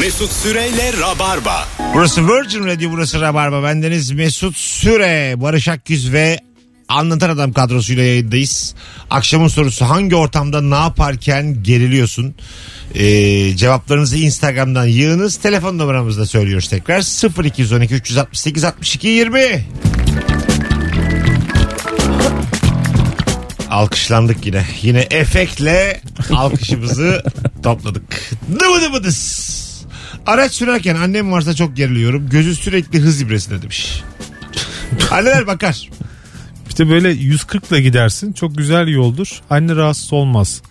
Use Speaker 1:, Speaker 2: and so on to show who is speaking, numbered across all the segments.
Speaker 1: Mesut Süreyle Rabarba.
Speaker 2: Burası Virgin Radio burası Rabarba. Bendeniz Mesut Süre, Barış Akgüz ve Anlatan Adam kadrosuyla yayındayız. Akşamın sorusu hangi ortamda ne yaparken geriliyorsun? Ee, cevaplarınızı Instagram'dan yığınız. Telefon numaramızda söylüyoruz tekrar. 0212 368 62 20. Alkışlandık yine. Yine efektle alkışımızı topladık. Dıvı dıvı dıs. Araç sürerken annem varsa çok geriliyorum. Gözü sürekli hız ibresinde demiş. Anneler bakar.
Speaker 3: İşte böyle 140 ile gidersin çok güzel yoldur. Anne rahatsız olmaz.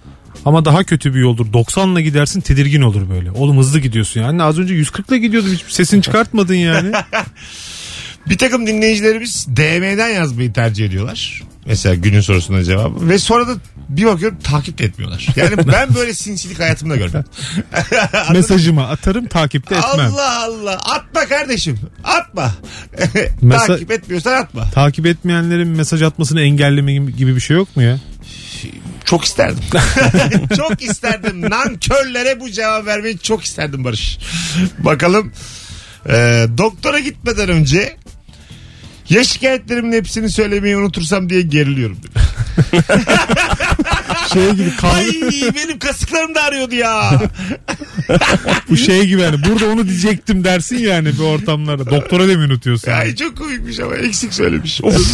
Speaker 3: Ama daha kötü bir yoldur. 90 ile gidersin tedirgin olur böyle. Oğlum hızlı gidiyorsun ya. Anne az önce 140 ile gidiyordum hiç sesini çıkartmadın yani.
Speaker 2: Bir takım dinleyicilerimiz DM'den yazmayı tercih ediyorlar. Mesela günün sorusuna cevabı. Ve sonra da bir bakıyorum takip de etmiyorlar. Yani ben böyle sinsilik hayatımda görmedim.
Speaker 3: Mesajıma atarım takipte etmem.
Speaker 2: Allah Allah. Atma kardeşim. Atma.
Speaker 3: Mesa-
Speaker 2: takip etmiyorsan atma.
Speaker 3: Takip etmeyenlerin mesaj atmasını engelleme gibi gibi bir şey yok mu ya?
Speaker 2: Çok isterdim. çok isterdim. Nankörlere bu cevap vermeyi çok isterdim Barış. Bakalım. Ee, doktora gitmeden önce ya şikayetlerimin hepsini söylemeyi unutursam diye geriliyorum.
Speaker 3: Şey gibi
Speaker 2: Ay benim kasıklarım da ağrıyordu ya.
Speaker 3: bu şey gibi yani burada onu diyecektim dersin yani bir ortamlarda. Doktora da mı unutuyorsun?
Speaker 2: Ay çok komikmiş ama eksik söylemiş. Of,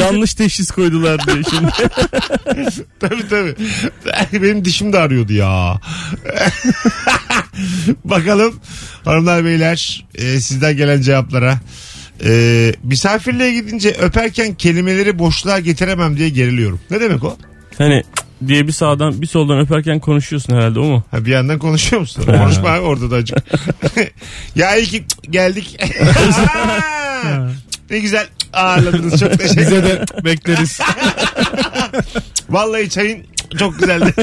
Speaker 4: Yanlış teşhis koydular diye şimdi.
Speaker 2: tabii tabii. Benim dişim de ağrıyordu ya. Bakalım hanımlar beyler e, sizden gelen cevaplara. E, misafirliğe gidince öperken kelimeleri boşluğa getiremem diye geriliyorum. Ne demek o?
Speaker 4: Hani cık diye bir sağdan bir soldan öperken konuşuyorsun herhalde o mu?
Speaker 2: Ha, bir yandan konuşuyor musun? Konuşma abi orada da acık. ya iyi ki geldik. Aa, ne güzel ağırladınız. Çok teşekkür
Speaker 3: Bize de bekleriz.
Speaker 2: Vallahi çayın çok güzeldi.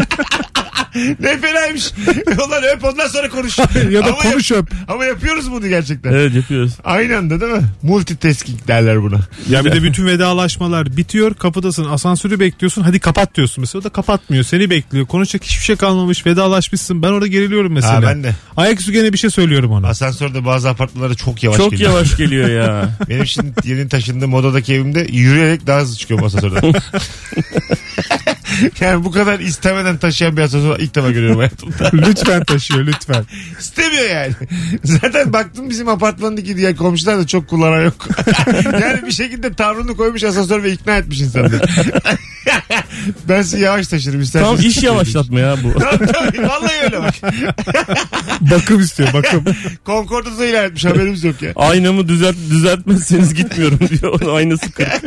Speaker 2: ne fenaymış. Ulan öp ondan sonra konuş.
Speaker 3: ya da
Speaker 2: Ama
Speaker 3: konuş öp.
Speaker 2: yap- ama yapıyoruz bunu gerçekten.
Speaker 4: Evet yapıyoruz.
Speaker 2: Aynı anda değil mi? Multitasking derler buna.
Speaker 3: Ya bir de bütün vedalaşmalar bitiyor. Kapıdasın asansörü bekliyorsun. Hadi kapat diyorsun mesela. O da kapatmıyor. Seni bekliyor. Konuşacak hiçbir şey kalmamış. Vedalaşmışsın. Ben orada geriliyorum mesela.
Speaker 2: Ha, ben de.
Speaker 3: Ayaküstü gene bir şey söylüyorum ona.
Speaker 2: Asansörde bazı apartmalara çok yavaş
Speaker 4: Çok
Speaker 2: geliyor.
Speaker 4: yavaş geliyor ya.
Speaker 2: Benim şimdi yeni taşındığım odadaki evimde yürüyerek daha hızlı çıkıyorum asansörden. yani bu kadar istemeden taşıyan bir asansör ilk defa görüyorum hayatımda.
Speaker 3: lütfen taşıyor lütfen.
Speaker 2: İstemiyor yani. Zaten baktım bizim apartmandaki diğer komşular da çok kullanan yok. yani bir şekilde tavrını koymuş asansör ve ikna etmiş insanları. ben sizi yavaş taşırım
Speaker 4: Tam
Speaker 2: isterseniz.
Speaker 4: iş yavaşlatma ya bu.
Speaker 2: Tabii, tabii. Vallahi öyle bak.
Speaker 3: Bakım istiyor bakım.
Speaker 2: Concord'unuzu ilan etmiş haberimiz yok ya.
Speaker 4: Aynamı düzelt düzeltmezseniz gitmiyorum diyor. Onun aynası kırık.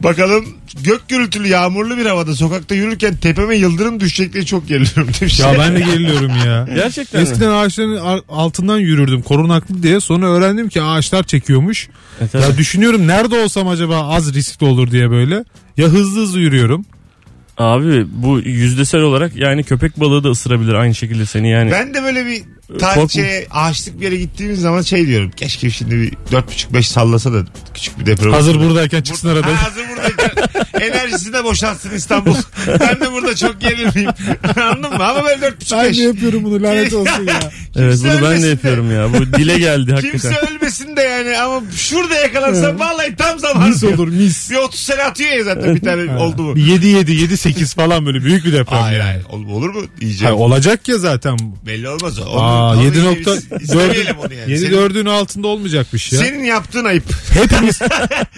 Speaker 2: Bakalım gök gürültülü yağmurlu bir havada sokakta yürürken tepeme yıldırım düşecek diye çok geriliyorum demiş.
Speaker 3: Ya ben de geriliyorum ya.
Speaker 4: Gerçekten mi?
Speaker 3: Eskiden ağaçların ar- altından yürürdüm korunaklı diye. Sonra öğrendim ki ağaçlar çekiyormuş.
Speaker 4: E, tabii.
Speaker 3: Ya düşünüyorum nerede olsam acaba az riskli olur diye böyle. Ya hızlı hızlı yürüyorum.
Speaker 4: Abi bu yüzdesel olarak yani köpek balığı da ısırabilir aynı şekilde seni yani.
Speaker 2: Ben de böyle bir tarihçeye ağaçlık bir yere gittiğimiz zaman şey diyorum. Keşke şimdi bir 4,5-5 sallasa da küçük bir deprem.
Speaker 3: Hazır buradayken çıksın
Speaker 2: Bur-
Speaker 3: aradan.
Speaker 2: Ha, Hazır buradayken enerjisini de boşaltsın İstanbul. ben de burada çok gerilmeyeyim. Anladın mı? Ama ben 4,5
Speaker 3: Aynı
Speaker 2: yaş.
Speaker 3: yapıyorum bunu
Speaker 2: şey-
Speaker 3: lanet olsun ya.
Speaker 4: evet
Speaker 2: kimse
Speaker 4: bunu
Speaker 2: ölmesin
Speaker 4: ben de
Speaker 2: de.
Speaker 4: yapıyorum ya. Bu dile geldi hakikaten.
Speaker 2: Kimse ölmesin de yani ama şurada yakalansam vallahi tam zamanı.
Speaker 3: Mis olur mis.
Speaker 2: Bir 30 sene atıyor ya zaten bir tane oldu mu?
Speaker 3: 7 7 7 8 falan böyle büyük bir deprem.
Speaker 2: Hayır
Speaker 3: yani.
Speaker 2: hayır. Ol- Olur mu? İyice.
Speaker 3: Hayır, olacak ya zaten.
Speaker 2: Belli olmaz o. Olur.
Speaker 3: Aa,
Speaker 2: Ama
Speaker 3: 7
Speaker 2: iyi,
Speaker 3: nokta
Speaker 2: biz istemeyelim onu yani.
Speaker 3: 7
Speaker 2: Senin-
Speaker 3: dördün altında olmayacakmış ya.
Speaker 2: Senin yaptığın ayıp.
Speaker 3: Hepimiz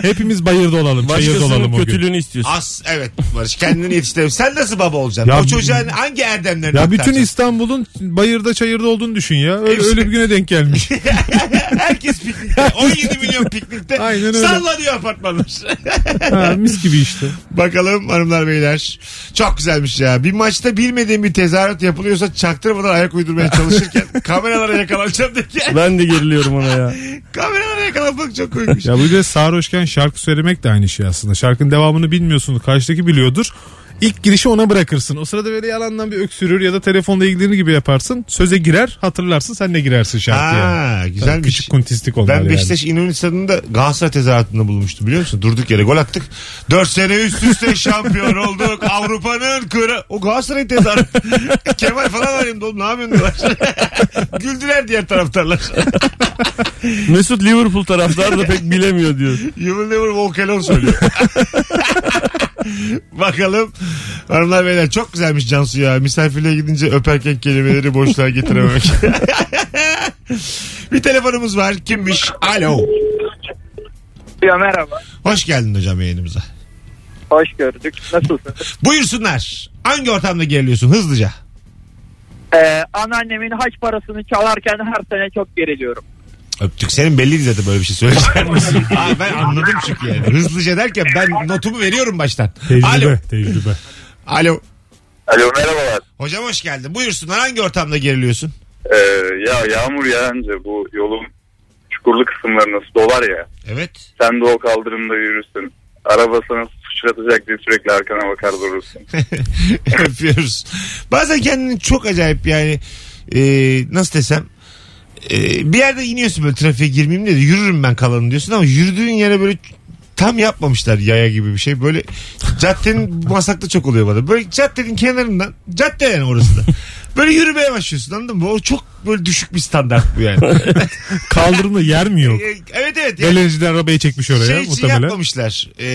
Speaker 3: hepimiz bayırda olalım. Çayırda
Speaker 4: Başkasının
Speaker 3: olalım o gün.
Speaker 4: kötülüğünü istiyorsun.
Speaker 2: As evet Barış kendini yetiştirem. Sen nasıl baba olacaksın?
Speaker 3: Ya
Speaker 2: o
Speaker 3: bu-
Speaker 2: çocuğa hangi erdemlerini
Speaker 3: Ya bütün
Speaker 2: aktaracaksın?
Speaker 3: İstanbul'un bayırda çayırda olduğunu düşün ya. Öyle,
Speaker 2: Hepsi.
Speaker 3: öyle bir güne denk gelmiş.
Speaker 2: Herkes piknikte. 17 milyon piknikte.
Speaker 3: Aynen öyle.
Speaker 2: Sallanıyor apartmanlar.
Speaker 3: ha, mis gibi işte.
Speaker 2: Bakalım hanımlar beyler. Çok güzelmiş ya. Bir maçta bilmediğim bir tezahürat yapılıyorsa çaktırmadan ayak uydurmaya çalışırken kameralara yakalanacağım dedi.
Speaker 4: Ben de geriliyorum ona ya.
Speaker 2: kameralara yakalanmak çok koymuş.
Speaker 3: Ya bu bir de sarhoşken şarkı söylemek de aynı şey aslında. Şarkının devamını bilmiyorsun. Karşıdaki biliyordur. İlk girişi ona bırakırsın. O sırada böyle yalandan bir öksürür ya da telefonda ilgilenir gibi yaparsın. Söze girer hatırlarsın sen de girersin şarkıya.
Speaker 2: Ha, güzelmiş.
Speaker 3: Küçük kuntistik onlar
Speaker 2: Ben
Speaker 3: yani.
Speaker 2: Beşiktaş İnönü Stadı'nda Galatasaray tezahüratında bulmuştum biliyor musun? Durduk yere gol attık. 4 sene üst üste şampiyon olduk. Avrupa'nın kırı. O Galatasaray tezahüratı. Kemal falan arayayım da oğlum ne yapıyorsun diyorlar. Güldüler diğer taraftarlar.
Speaker 4: Mesut Liverpool taraftarı da pek bilemiyor diyor.
Speaker 2: You will never walk alone söylüyor. Bakalım hanımlar beyler çok güzelmiş Cansu ya. Misafirliğe gidince öperken kelimeleri boşluğa getirememek. bir telefonumuz var. Kimmiş? Alo.
Speaker 5: Ya merhaba.
Speaker 2: Hoş geldin hocam yayınımıza.
Speaker 5: Hoş gördük. Nasılsınız?
Speaker 2: Buyursunlar. Hangi ortamda geriliyorsun hızlıca?
Speaker 5: Ee, anneannemin haç parasını çalarken her sene çok geriliyorum.
Speaker 2: Öptük. Senin belliydi zaten böyle bir şey söyleyeceğim. Abi ben anladım çünkü yani. Hızlıca derken ben notumu veriyorum baştan.
Speaker 3: Tecrübe,
Speaker 2: Alo.
Speaker 3: tecrübe.
Speaker 2: Alo.
Speaker 6: Alo merhabalar.
Speaker 2: Hocam hoş geldin. Buyursunlar hangi ortamda geriliyorsun?
Speaker 6: Ee, ya yağmur yağınca bu yolun çukurlu kısımları nasıl dolar ya.
Speaker 2: Evet.
Speaker 6: Sen de o kaldırımda yürürsün. Araba sana sıçratacak diye sürekli arkana bakar durursun.
Speaker 2: Öpüyoruz. Bazen kendini çok acayip yani e, nasıl desem e, bir yerde iniyorsun böyle trafiğe girmeyeyim diye de yürürüm ben kalanım diyorsun ama yürüdüğün yere böyle tam yapmamışlar yaya gibi bir şey. Böyle caddenin masakta çok oluyor bana. Böyle caddenin kenarından cadde yani orası da. Böyle yürümeye başlıyorsun anladın mı? O çok böyle düşük bir standart bu yani.
Speaker 3: Kaldırımda yer mi yok?
Speaker 2: E, evet evet. Yani
Speaker 3: Beleniciler arabayı çekmiş oraya
Speaker 2: şey için
Speaker 3: muhtemelen.
Speaker 2: yapmamışlar. E,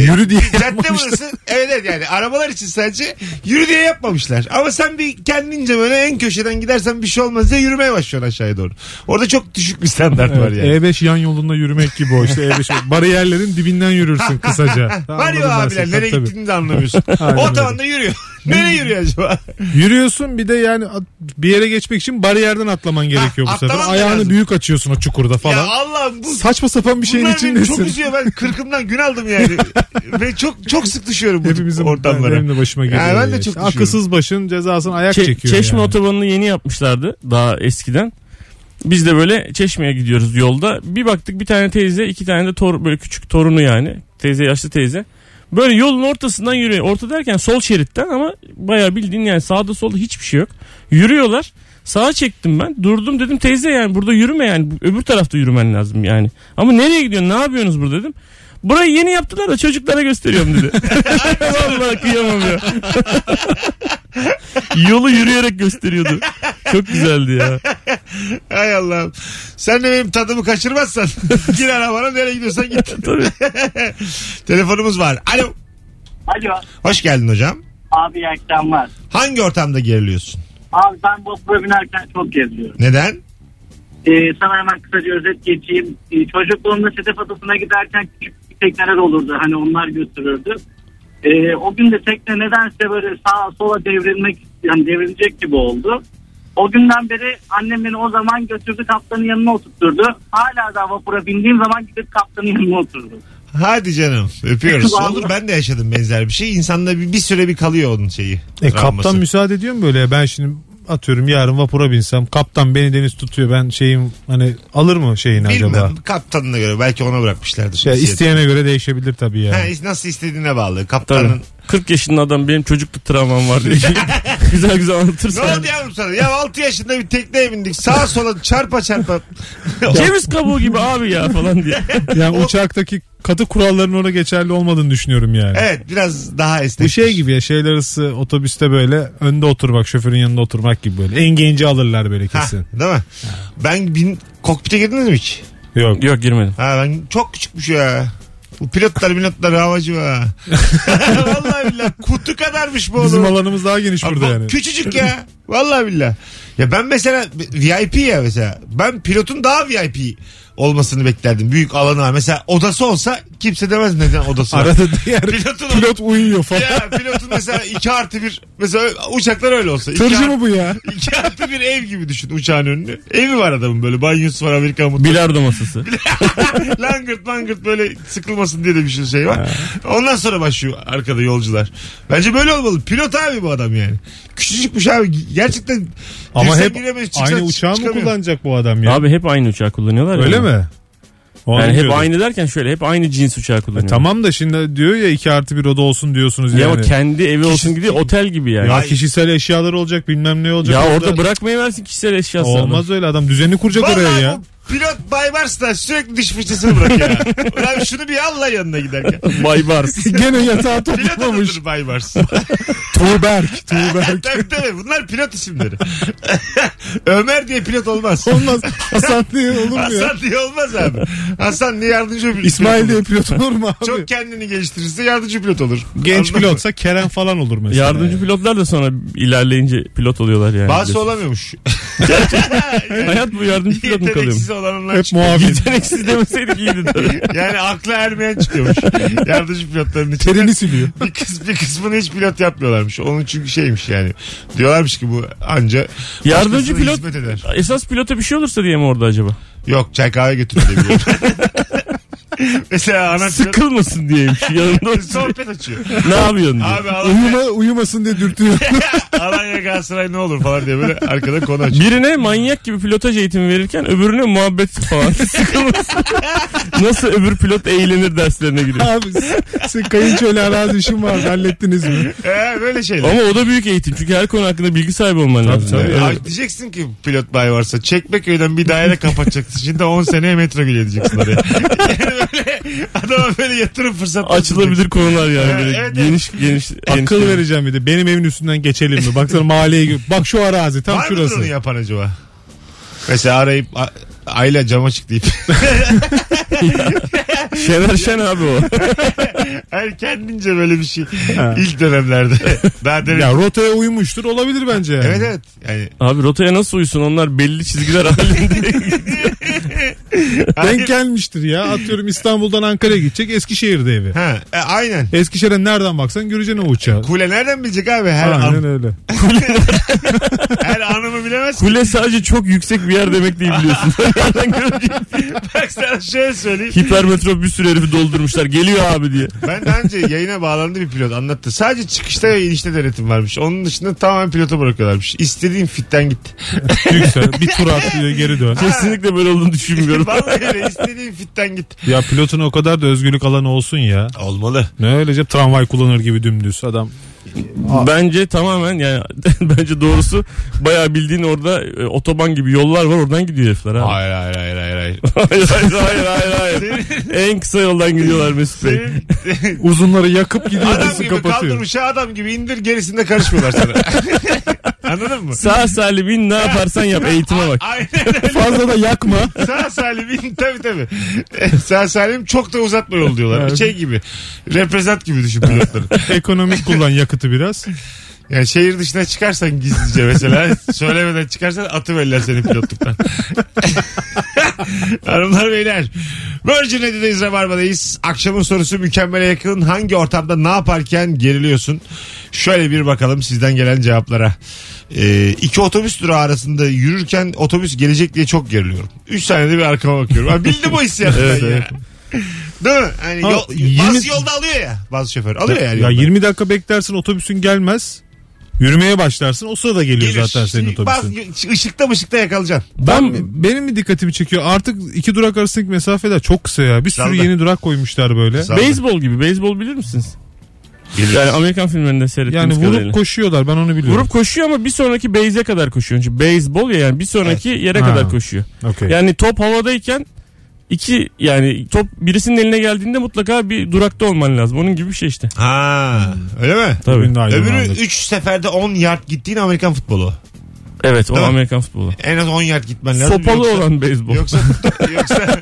Speaker 3: Yürü diye
Speaker 2: Cadde burası. Evet evet yani arabalar için sadece yürü diye yapmamışlar. Ama sen bir kendince böyle en köşeden gidersen bir şey olmaz diye yürümeye başlıyorsun aşağıya doğru. Orada çok düşük bir standart var yani.
Speaker 3: Evet, E5 yan yolunda yürümek gibi o işte E5 bariyerlerin dibinden yürürsün kısaca.
Speaker 2: var
Speaker 3: Anladım ben
Speaker 2: ya abiler
Speaker 3: seni.
Speaker 2: nereye
Speaker 3: Tabii.
Speaker 2: gittiğini de anlamıyorsun.
Speaker 3: Aynen
Speaker 2: o tavanda yürüyor. nereye yürüyor acaba?
Speaker 3: Yürüyorsun bir de yani at- bir yere geçmek için bariyerden atlaman gerekiyor bu sefer.
Speaker 2: atlaman da
Speaker 3: Ayağını
Speaker 2: lazım.
Speaker 3: büyük açıyorsun o çukurda
Speaker 2: ya
Speaker 3: falan.
Speaker 2: Allah'ım bu
Speaker 3: Saçma sapan bir şeyin
Speaker 2: Bunlar beni çok
Speaker 3: içindesin.
Speaker 2: üzüyor ben kırkımdan gün aldım yani. Ve çok çok sık düşüyorum bu
Speaker 3: Hepimizin
Speaker 2: Hepimizin ortamlara.
Speaker 3: benim de başıma geliyor.
Speaker 2: ben de
Speaker 3: ya
Speaker 2: çok
Speaker 3: işte.
Speaker 2: düşüyorum.
Speaker 3: Akılsız başın cezasını ayak
Speaker 4: Çe-
Speaker 3: çekiyor.
Speaker 4: Çeşme
Speaker 3: yani.
Speaker 4: otobanını yeni yapmışlardı daha eskiden. Biz de böyle Çeşme'ye gidiyoruz yolda. Bir baktık bir tane teyze, iki tane de tor böyle küçük torunu yani. Teyze yaşlı teyze. Böyle yolun ortasından yürüyor. Orta derken sol şeritten ama bayağı bildiğin yani sağda solda hiçbir şey yok. Yürüyorlar. Sağa çektim ben. Durdum dedim teyze yani burada yürüme yani. Öbür tarafta yürümen lazım yani. Ama nereye gidiyorsun? Ne yapıyorsunuz burada dedim. Burayı yeni yaptılar da çocuklara gösteriyorum dedi. Vallahi kıyamam ya. Yolu yürüyerek gösteriyordu. Çok güzeldi ya.
Speaker 2: Hay Allah'ım. Sen de benim tadımı kaçırmazsan gir arabana nereye gidiyorsan git.
Speaker 4: Tabii.
Speaker 2: Telefonumuz var. Alo.
Speaker 5: Alo.
Speaker 2: Hoş geldin hocam.
Speaker 5: Abi iyi akşamlar.
Speaker 2: Hangi ortamda geriliyorsun?
Speaker 5: Abi ben vapura binerken çok geriliyorum.
Speaker 2: Neden?
Speaker 5: Ee, sana hemen kısaca özet geçeyim. Ee, çocukluğumda Sedef Adası'na giderken küçük bir tekneler olurdu. Hani onlar götürürdü. Ee, o gün de tekne nedense böyle sağa sola devrilmek yani devrilecek gibi oldu. O günden beri annem beni o zaman götürdü kaptanın yanına oturtturdu. Hala da vapura bindiğim zaman gidip kaptanın yanına oturdu.
Speaker 2: Hadi canım. Öpüyoruz. Olur ben de yaşadım benzer bir şey. İnsanda bir, bir süre bir kalıyor onun şeyi.
Speaker 3: E, kaptan
Speaker 2: travması.
Speaker 3: müsaade ediyor mu böyle? Ben şimdi atıyorum yarın vapura binsem kaptan beni deniz tutuyor ben şeyim hani alır mı şeyini
Speaker 2: Bilmem.
Speaker 3: acaba?
Speaker 2: Kaptanına göre. Belki ona bırakmışlardır.
Speaker 3: Ya
Speaker 2: İstiyat-
Speaker 3: Şey, isteyene göre değişebilir tabii yani.
Speaker 2: Ha, nasıl istediğine bağlı.
Speaker 4: Tabii.
Speaker 2: Kaptanın.
Speaker 4: 40 yaşında adam benim çocukluk travmam var diye. güzel güzel
Speaker 2: Ne
Speaker 4: anlatırsan.
Speaker 2: oldu yavrum sana? Ya 6 yaşında bir tekneye bindik. Sağa sola çarpa çarpa.
Speaker 4: Ceviz kabuğu gibi abi ya falan diye.
Speaker 3: Yani uçaktaki katı kuralların orada geçerli olmadığını düşünüyorum yani.
Speaker 2: Evet biraz daha esnek.
Speaker 3: Bu şey gibi ya şeyler arası otobüste böyle önde oturmak şoförün yanında oturmak gibi böyle. En genci alırlar böyle
Speaker 2: Ha,
Speaker 3: kesin.
Speaker 2: değil mi? Ben bin, kokpite girdiniz mi hiç?
Speaker 3: Yok.
Speaker 4: Yok girmedim.
Speaker 2: Ha ben çok küçükmüş ya. Bu pilotlar pilotlar havacı ha. Vallahi billahi kutu kadarmış bu
Speaker 3: Bizim
Speaker 2: oğlum.
Speaker 3: alanımız daha geniş
Speaker 2: Abi
Speaker 3: burada
Speaker 2: bak,
Speaker 3: yani.
Speaker 2: Küçücük ya. Vallahi billahi. Ya ben mesela VIP ya mesela. Ben pilotun daha VIP olmasını beklerdim. Büyük alanı var. Mesela odası olsa kimse demez neden odası var.
Speaker 3: Arada diğer
Speaker 2: Pilotun-
Speaker 3: pilot uyuyor falan.
Speaker 2: Ya pilotun mesela 2 artı 1 mesela uçaklar öyle olsa. iki
Speaker 3: Tırcı
Speaker 2: artı-
Speaker 3: mı bu ya?
Speaker 2: iki artı bir ev gibi düşün uçağın önünü. Evi var adamın böyle banyosu var Amerikan mutfağı.
Speaker 4: Bilardo masası.
Speaker 2: langırt langırt böyle sıkılmasın diye de bir sürü şey var. Ondan sonra başlıyor arkada yolcular. Bence böyle olmalı. Pilot abi bu adam yani. Küçücükmüş abi. Gerçekten
Speaker 3: Ama
Speaker 2: girsen
Speaker 3: hep
Speaker 2: giremez, çıksan
Speaker 3: aynı uçağı mı
Speaker 2: çıkamıyor.
Speaker 3: kullanacak bu adam ya?
Speaker 4: Abi hep aynı uçağı kullanıyorlar ya.
Speaker 3: Öyle mi? Onu
Speaker 4: yani hep
Speaker 3: diyorum.
Speaker 4: aynı derken şöyle hep aynı cins uçağı kullanıyor.
Speaker 3: E, Tamam da şimdi diyor ya 2 artı 1 oda olsun diyorsunuz
Speaker 4: Ya
Speaker 3: yani.
Speaker 4: o kendi evi olsun gibi otel gibi yani.
Speaker 3: ya
Speaker 4: Ya,
Speaker 3: kişisel eşyalar olacak bilmem ne olacak.
Speaker 4: orada bırakmayı versin kişisel eşyası.
Speaker 3: Olmaz öyle adam düzenini kuracak oraya
Speaker 2: Vallahi
Speaker 3: ya.
Speaker 2: bu pilot Baybars da sürekli diş fırçasını bırakıyor. ya. Ulan şunu bir al lan yanına giderken.
Speaker 4: Bay Bars.
Speaker 3: Gene yatağa
Speaker 2: Pilot
Speaker 3: toplamamış.
Speaker 2: adıdır Baybars.
Speaker 3: Tuğberk. Tuğberk.
Speaker 2: tabii tabii bunlar pilot isimleri. Ömer diye pilot olmaz.
Speaker 3: Olmaz. Hasan diye olur mu ya?
Speaker 2: Hasan diye olmaz abi. Hasan diye yardımcı pilot
Speaker 3: İsmail
Speaker 2: olur.
Speaker 3: diye pilot olur mu abi?
Speaker 2: Çok kendini geliştirirse yardımcı pilot olur.
Speaker 3: Genç
Speaker 2: Anladın mı?
Speaker 3: pilotsa Kerem falan olur mesela.
Speaker 4: Yardımcı pilotlar da sonra ilerleyince pilot oluyorlar yani.
Speaker 2: Bazısı
Speaker 4: biliyorsun.
Speaker 2: olamıyormuş.
Speaker 4: Hayat bu yardımcı pilot mu kalıyor?
Speaker 2: Yeteneksiz olanlar
Speaker 3: Hep
Speaker 2: çıkıyor.
Speaker 3: muavin.
Speaker 4: Yeteneksiz demeseydik iyiydi. tabii.
Speaker 2: Yani akla ermeyen çıkıyormuş. yardımcı pilotların içinde.
Speaker 3: Terini siliyor.
Speaker 2: bir, kız, bir kısmını hiç pilot yapmıyorlarmış. Onun çünkü şeymiş yani. Diyorlarmış ki bu anca
Speaker 4: Yardımcı
Speaker 2: başkasına
Speaker 4: pilot-
Speaker 2: hizmet eder.
Speaker 4: Esas pilota bir şey olursa diye mi orada acaba?
Speaker 2: Yok çay kahve götürüyor diye biliyorum. Mesela ana pilot
Speaker 4: Sıkılmasın diyeymiş. Yanında oturuyor.
Speaker 2: sohbet açıyor.
Speaker 4: ne yapıyorsun diye.
Speaker 2: Abi Alanya,
Speaker 3: Uyuma, uyumasın diye dürtüyor.
Speaker 2: Alanya Galatasaray ne olur falan diye böyle arkada konu açıyor.
Speaker 4: Birine manyak gibi pilotaj eğitimi verirken öbürüne muhabbet falan. Sıkılmasın. Nasıl öbür pilot eğlenir derslerine giriyor.
Speaker 3: Abi sen kayınço ile arazi işim var hallettiniz mi?
Speaker 2: Ee, böyle şeyler.
Speaker 4: Ama o da büyük eğitim. Çünkü her konu hakkında bilgi sahibi olman lazım.
Speaker 3: tabii.
Speaker 4: Evet.
Speaker 2: Ay, diyeceksin ki pilot bay varsa Çekmeköy'den bir daire kapatacaksın. Şimdi 10 seneye metro güle edeceksin oraya. Yani böyle adama böyle yatırım fırsatı.
Speaker 4: Açılabilir konular yani.
Speaker 2: Evet,
Speaker 4: böyle
Speaker 2: evet.
Speaker 4: geniş geniş. geniş-
Speaker 3: Akıl vereceğim bir de. Benim evimin üstünden geçelim mi? Baksana mahalleye gir. Bak şu arazi tam
Speaker 2: Var mıdır
Speaker 3: şurası.
Speaker 2: onu yapan acaba? Mesela arayıp a- Ayla cama çık deyip.
Speaker 4: Şener Şen abi o.
Speaker 2: Hayır kendince böyle bir şey. İlk dönemlerde. Daha derin.
Speaker 3: Ya rotaya uymuştur olabilir bence. Yani.
Speaker 2: Evet evet. Yani,
Speaker 4: Abi rotaya nasıl uysun onlar belli çizgiler halinde.
Speaker 2: Hayır.
Speaker 3: Denk gelmiştir ya. Atıyorum İstanbul'dan Ankara'ya gidecek Eskişehir'de evi.
Speaker 2: ha, e, aynen.
Speaker 3: Eskişehir'e nereden baksan göreceksin o uçağı.
Speaker 2: Kule nereden bilecek abi? Her,
Speaker 3: Aynen
Speaker 2: an,
Speaker 3: öyle.
Speaker 2: her anımı bilemez. ki.
Speaker 4: Kule sadece çok yüksek bir yer demek değil biliyorsun. Nereden göreceksin?
Speaker 2: Bak sana şöyle söyleyeyim.
Speaker 4: Hipermetrop bir sürü herifi doldurmuşlar. Geliyor abi diye.
Speaker 2: Ben daha önce yayına bağlandı bir pilot anlattı. Sadece çıkışta ve inişte denetim varmış. Onun dışında tamamen pilota bırakıyorlarmış. İstediğin fitten git.
Speaker 3: Yüksel. Bir tur atlıyor geri dön.
Speaker 4: Kesinlikle böyle olduğunu düşünmüyorum.
Speaker 2: Vallahi öyle istediğin fitten git.
Speaker 3: Ya pilotun o kadar da özgürlük alanı olsun ya.
Speaker 2: Olmalı.
Speaker 3: Ne öylece tramvay kullanır gibi dümdüz adam.
Speaker 4: Bence tamamen yani bence doğrusu bayağı bildiğin orada e, otoban gibi yollar var oradan gidiyor herifler abi.
Speaker 2: Hayır hayır hayır hayır. hayır.
Speaker 4: hayır hayır hayır hayır. hayır. en kısa yoldan gidiyorlar Mesut Bey.
Speaker 2: Senin
Speaker 3: Uzunları yakıp gidiyor.
Speaker 2: adam
Speaker 3: dizi
Speaker 2: gibi kaldır uçağı adam gibi indir gerisinde karışmıyorlar sana. Anladın mı?
Speaker 4: Sağ salim in ne yaparsan yap eğitime bak.
Speaker 2: Aynen öyle.
Speaker 3: Fazla da yakma.
Speaker 2: Sağ salim in tabii tabii. Sağ salim çok da uzatma yol diyorlar.
Speaker 3: Evet.
Speaker 2: Şey gibi. Reprezent gibi düşün pilotları.
Speaker 3: Ekonomik kullan yakıtı biraz.
Speaker 2: Yani şehir dışına çıkarsan gizlice mesela söylemeden çıkarsan atıverirler seni pilotluktan. Hanımlar beyler. Virgin Radio'dayız Rabarba'dayız. Akşamın sorusu mükemmele yakın. Hangi ortamda ne yaparken geriliyorsun? Şöyle bir bakalım sizden gelen cevaplara. Ee, iki otobüs durağı arasında yürürken otobüs gelecek diye çok geriliyorum. Üç saniyede bir arkama bakıyorum. Ha, bildim o hissiyatı
Speaker 4: Evet,
Speaker 2: ben ya.
Speaker 4: evet.
Speaker 2: Değil mi? Hani
Speaker 3: Ha,
Speaker 2: yol, bazı
Speaker 3: yirmi-
Speaker 2: yolda alıyor ya. Bazı şoför alıyor yani.
Speaker 3: ya
Speaker 2: yolda.
Speaker 3: 20 dakika beklersin otobüsün gelmez. Yürümeye başlarsın. O sırada geliyor
Speaker 2: Gelir.
Speaker 3: zaten senin
Speaker 2: Şimdi
Speaker 3: otobüsün.
Speaker 2: Bas, ışıkta mışıkta yakalayacaksın.
Speaker 3: Ben benim mi dikkatimi çekiyor? Artık iki durak arasındaki mesafeler çok kısa ya. Bir sürü
Speaker 2: Sağda.
Speaker 3: yeni durak koymuşlar böyle.
Speaker 2: Sağda.
Speaker 4: Beyzbol gibi beyzbol bilir misiniz? Yani Amerikan filmlerinde
Speaker 3: Yani
Speaker 4: seyrettiğimiz
Speaker 3: vurup
Speaker 4: kadarıyla.
Speaker 3: koşuyorlar. Ben onu biliyorum.
Speaker 4: Vurup koşuyor ama bir sonraki base'e kadar koşuyor. Çünkü beyzbol ya yani bir sonraki yere
Speaker 3: Ha.
Speaker 4: kadar koşuyor.
Speaker 3: Okey.
Speaker 4: Yani top havadayken iki yani top birisinin eline geldiğinde mutlaka bir durakta olman lazım. Onun gibi bir şey işte.
Speaker 2: Ha, öyle mi?
Speaker 4: Tabii.
Speaker 3: Ünlü ayrımı
Speaker 2: Öbürü
Speaker 3: anladım.
Speaker 2: 3 seferde 10 yard gittiğin Amerikan futbolu.
Speaker 4: Evet o
Speaker 2: Değil mi?
Speaker 4: Amerikan futbolu.
Speaker 2: En az 10 yard gitmen lazım.
Speaker 4: Sopalı
Speaker 2: yoksa,
Speaker 4: olan beyzbol.
Speaker 2: Yoksa, yoksa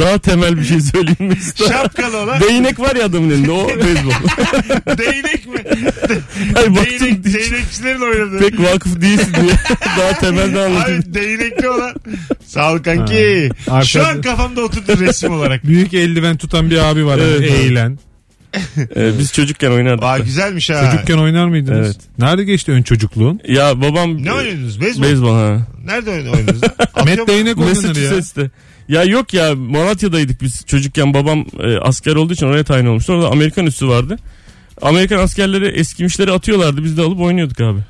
Speaker 4: Daha temel bir şey söyleyeyim mi?
Speaker 2: şapkalı olan
Speaker 4: Değnek var ya adamın elinde o beyzbol.
Speaker 2: değnek mi?
Speaker 4: Hayır baktım
Speaker 2: Değnek,
Speaker 4: hiç
Speaker 2: değnekçilerin oynadığı.
Speaker 4: pek vakıf değilsin diye. Daha temelden anlatayım.
Speaker 2: Abi değnekli olan. Sağ ol kanki.
Speaker 3: Ha,
Speaker 2: Şu
Speaker 3: arkada-
Speaker 2: an kafamda oturdu resim olarak.
Speaker 3: Büyük eldiven tutan bir abi var.
Speaker 4: Evet.
Speaker 3: hani eğilen.
Speaker 4: Ee, biz çocukken oynardık.
Speaker 2: Aa
Speaker 4: da.
Speaker 2: güzelmiş ha.
Speaker 3: Çocukken oynar mıydınız?
Speaker 4: Evet.
Speaker 3: Nerede geçti ön çocukluğun?
Speaker 4: Ya babam...
Speaker 2: Ne oynuyordunuz? Beyzbol.
Speaker 4: Beyzbol ha.
Speaker 2: Nerede oynuyordunuz?
Speaker 3: Met değnek oynanır ya.
Speaker 4: Massachusetts'te. Ya yok ya Malatya'daydık biz çocukken babam e, asker olduğu için oraya tayin olmuştu. Orada Amerikan üssü vardı. Amerikan askerleri eskimişleri atıyorlardı biz de alıp oynuyorduk abi.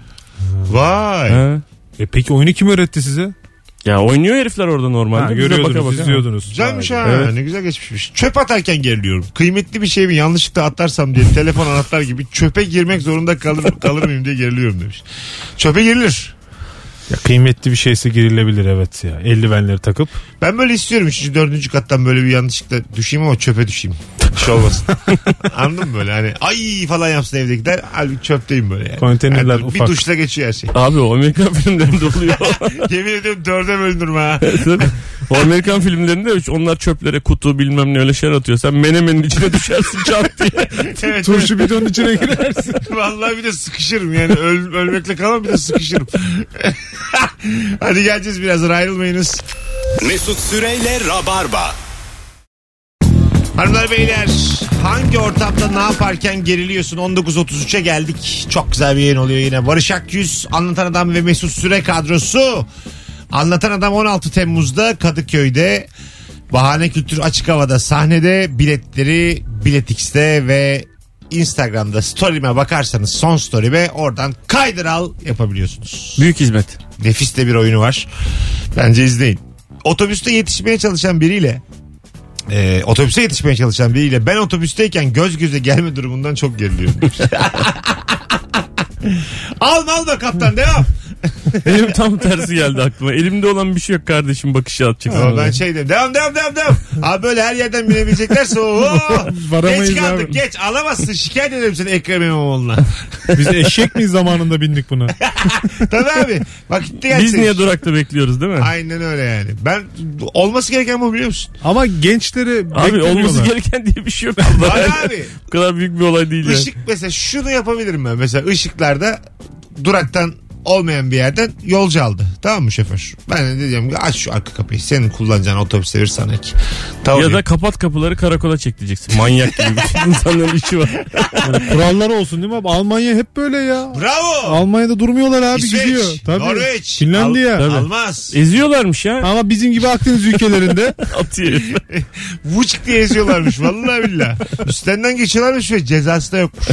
Speaker 2: Vay.
Speaker 4: Ha.
Speaker 3: E peki oyunu kim öğretti size?
Speaker 4: Ya oynuyor herifler orada normalde.
Speaker 3: Ha,
Speaker 4: Biz de
Speaker 3: görüyordunuz,
Speaker 4: baka baka.
Speaker 3: izliyordunuz.
Speaker 2: Güzelmiş
Speaker 3: Vay be.
Speaker 2: ha.
Speaker 4: Evet.
Speaker 2: Ne güzel geçmişmiş. Çöp atarken geriliyorum. Kıymetli bir şey mi yanlışlıkla atarsam diye telefon anahtar gibi çöpe girmek zorunda kalır, kalır mıyım diye geriliyorum demiş. Çöpe girilir.
Speaker 3: Ya kıymetli bir şeyse girilebilir evet ya. Eldivenleri takıp.
Speaker 2: Ben böyle istiyorum. Üçüncü, dördüncü kattan böyle bir yanlışlıkla düşeyim ama çöpe düşeyim. Bir şey olmasın. Anladın mı böyle hani ay falan yapsın evdekiler. Halbuki çöpteyim böyle yani.
Speaker 3: Konteynerler
Speaker 2: Her türlü Bir
Speaker 3: ufak.
Speaker 2: duşla geçiyor her şey.
Speaker 4: Abi o Amerikan filmlerinde oluyor.
Speaker 2: Yemin ediyorum dörde bölünürüm ha.
Speaker 4: Tabii. o Amerikan filmlerinde hiç onlar çöplere kutu bilmem ne öyle şeyler atıyor. Sen menemenin içine düşersin çat diye.
Speaker 2: Evet,
Speaker 3: Turşu bidonun içine girersin.
Speaker 2: Vallahi bir de sıkışırım yani Öl- ölmekle kalamam bir de sıkışırım. Hadi geleceğiz birazdan ayrılmayınız.
Speaker 1: Mesut Süreyle Rabarba.
Speaker 2: Hanımlar beyler hangi ortamda ne yaparken geriliyorsun 19.33'e geldik. Çok güzel bir yayın oluyor yine. Barış Akyüz, Anlatan Adam ve Mesut Süre kadrosu. Anlatan Adam 16 Temmuz'da Kadıköy'de Bahane Kültür Açık Hava'da sahnede biletleri Biletix'te ve Instagram'da story'me bakarsanız son story'me oradan kaydır al yapabiliyorsunuz.
Speaker 4: Büyük hizmet.
Speaker 2: Nefis de bir oyunu var. Bence izleyin. Otobüste yetişmeye çalışan biriyle e, otobüse yetişmeye çalışan biriyle ben otobüsteyken göz göze gelme durumundan çok geriliyorum. alma alma kaptan devam.
Speaker 4: Benim tam tersi geldi aklıma. Elimde olan bir şey yok kardeşim bakışı atacaksın.
Speaker 2: Ama ben şey dedim devam devam devam devam. Abi böyle her yerden binebileceklerse ooo.
Speaker 3: Varamayız
Speaker 2: geç kaldık
Speaker 3: abi.
Speaker 2: geç alamazsın şikayet ederim seni Ekrem İmamoğlu'na.
Speaker 3: Biz eşek miyiz zamanında bindik buna?
Speaker 2: Tabii abi vakit de gelsin.
Speaker 4: Biz niye durakta bekliyoruz değil mi?
Speaker 2: Aynen öyle yani. Ben olması gereken bu biliyor musun?
Speaker 3: Ama gençleri
Speaker 4: Abi olması
Speaker 3: gerek.
Speaker 4: gereken diye bir şey yok.
Speaker 2: Hayır abi.
Speaker 4: Bu kadar büyük bir olay değil yani.
Speaker 2: Işık mesela şunu yapabilirim ben. Mesela ışıklarda duraktan olmayan bir yerden yolcu aldı. Tamam mı şoför? Ben de diyeceğim ki aç şu arka kapıyı. Senin kullanacağın otobüse bir sana ki. Tamam.
Speaker 4: Ya da
Speaker 2: diyeyim.
Speaker 4: kapat kapıları karakola çek diyeceksin. Manyak gibi. Bütün insanların işi var.
Speaker 3: Kurallar olsun değil mi abi? Almanya hep böyle ya.
Speaker 2: Bravo.
Speaker 3: Almanya'da durmuyorlar abi
Speaker 2: İsveç,
Speaker 3: gidiyor. Tabii.
Speaker 2: Norveç,
Speaker 3: Finlandiya.
Speaker 4: Al- Tabii.
Speaker 2: Almaz.
Speaker 4: Eziyorlarmış ya.
Speaker 3: Ama bizim gibi Akdeniz ülkelerinde
Speaker 4: Atıyor.
Speaker 2: Vuçk diye yazıyorlarmış. Vallahi billah. Üstlerinden geçiyorlarmış ve cezası da yokmuş.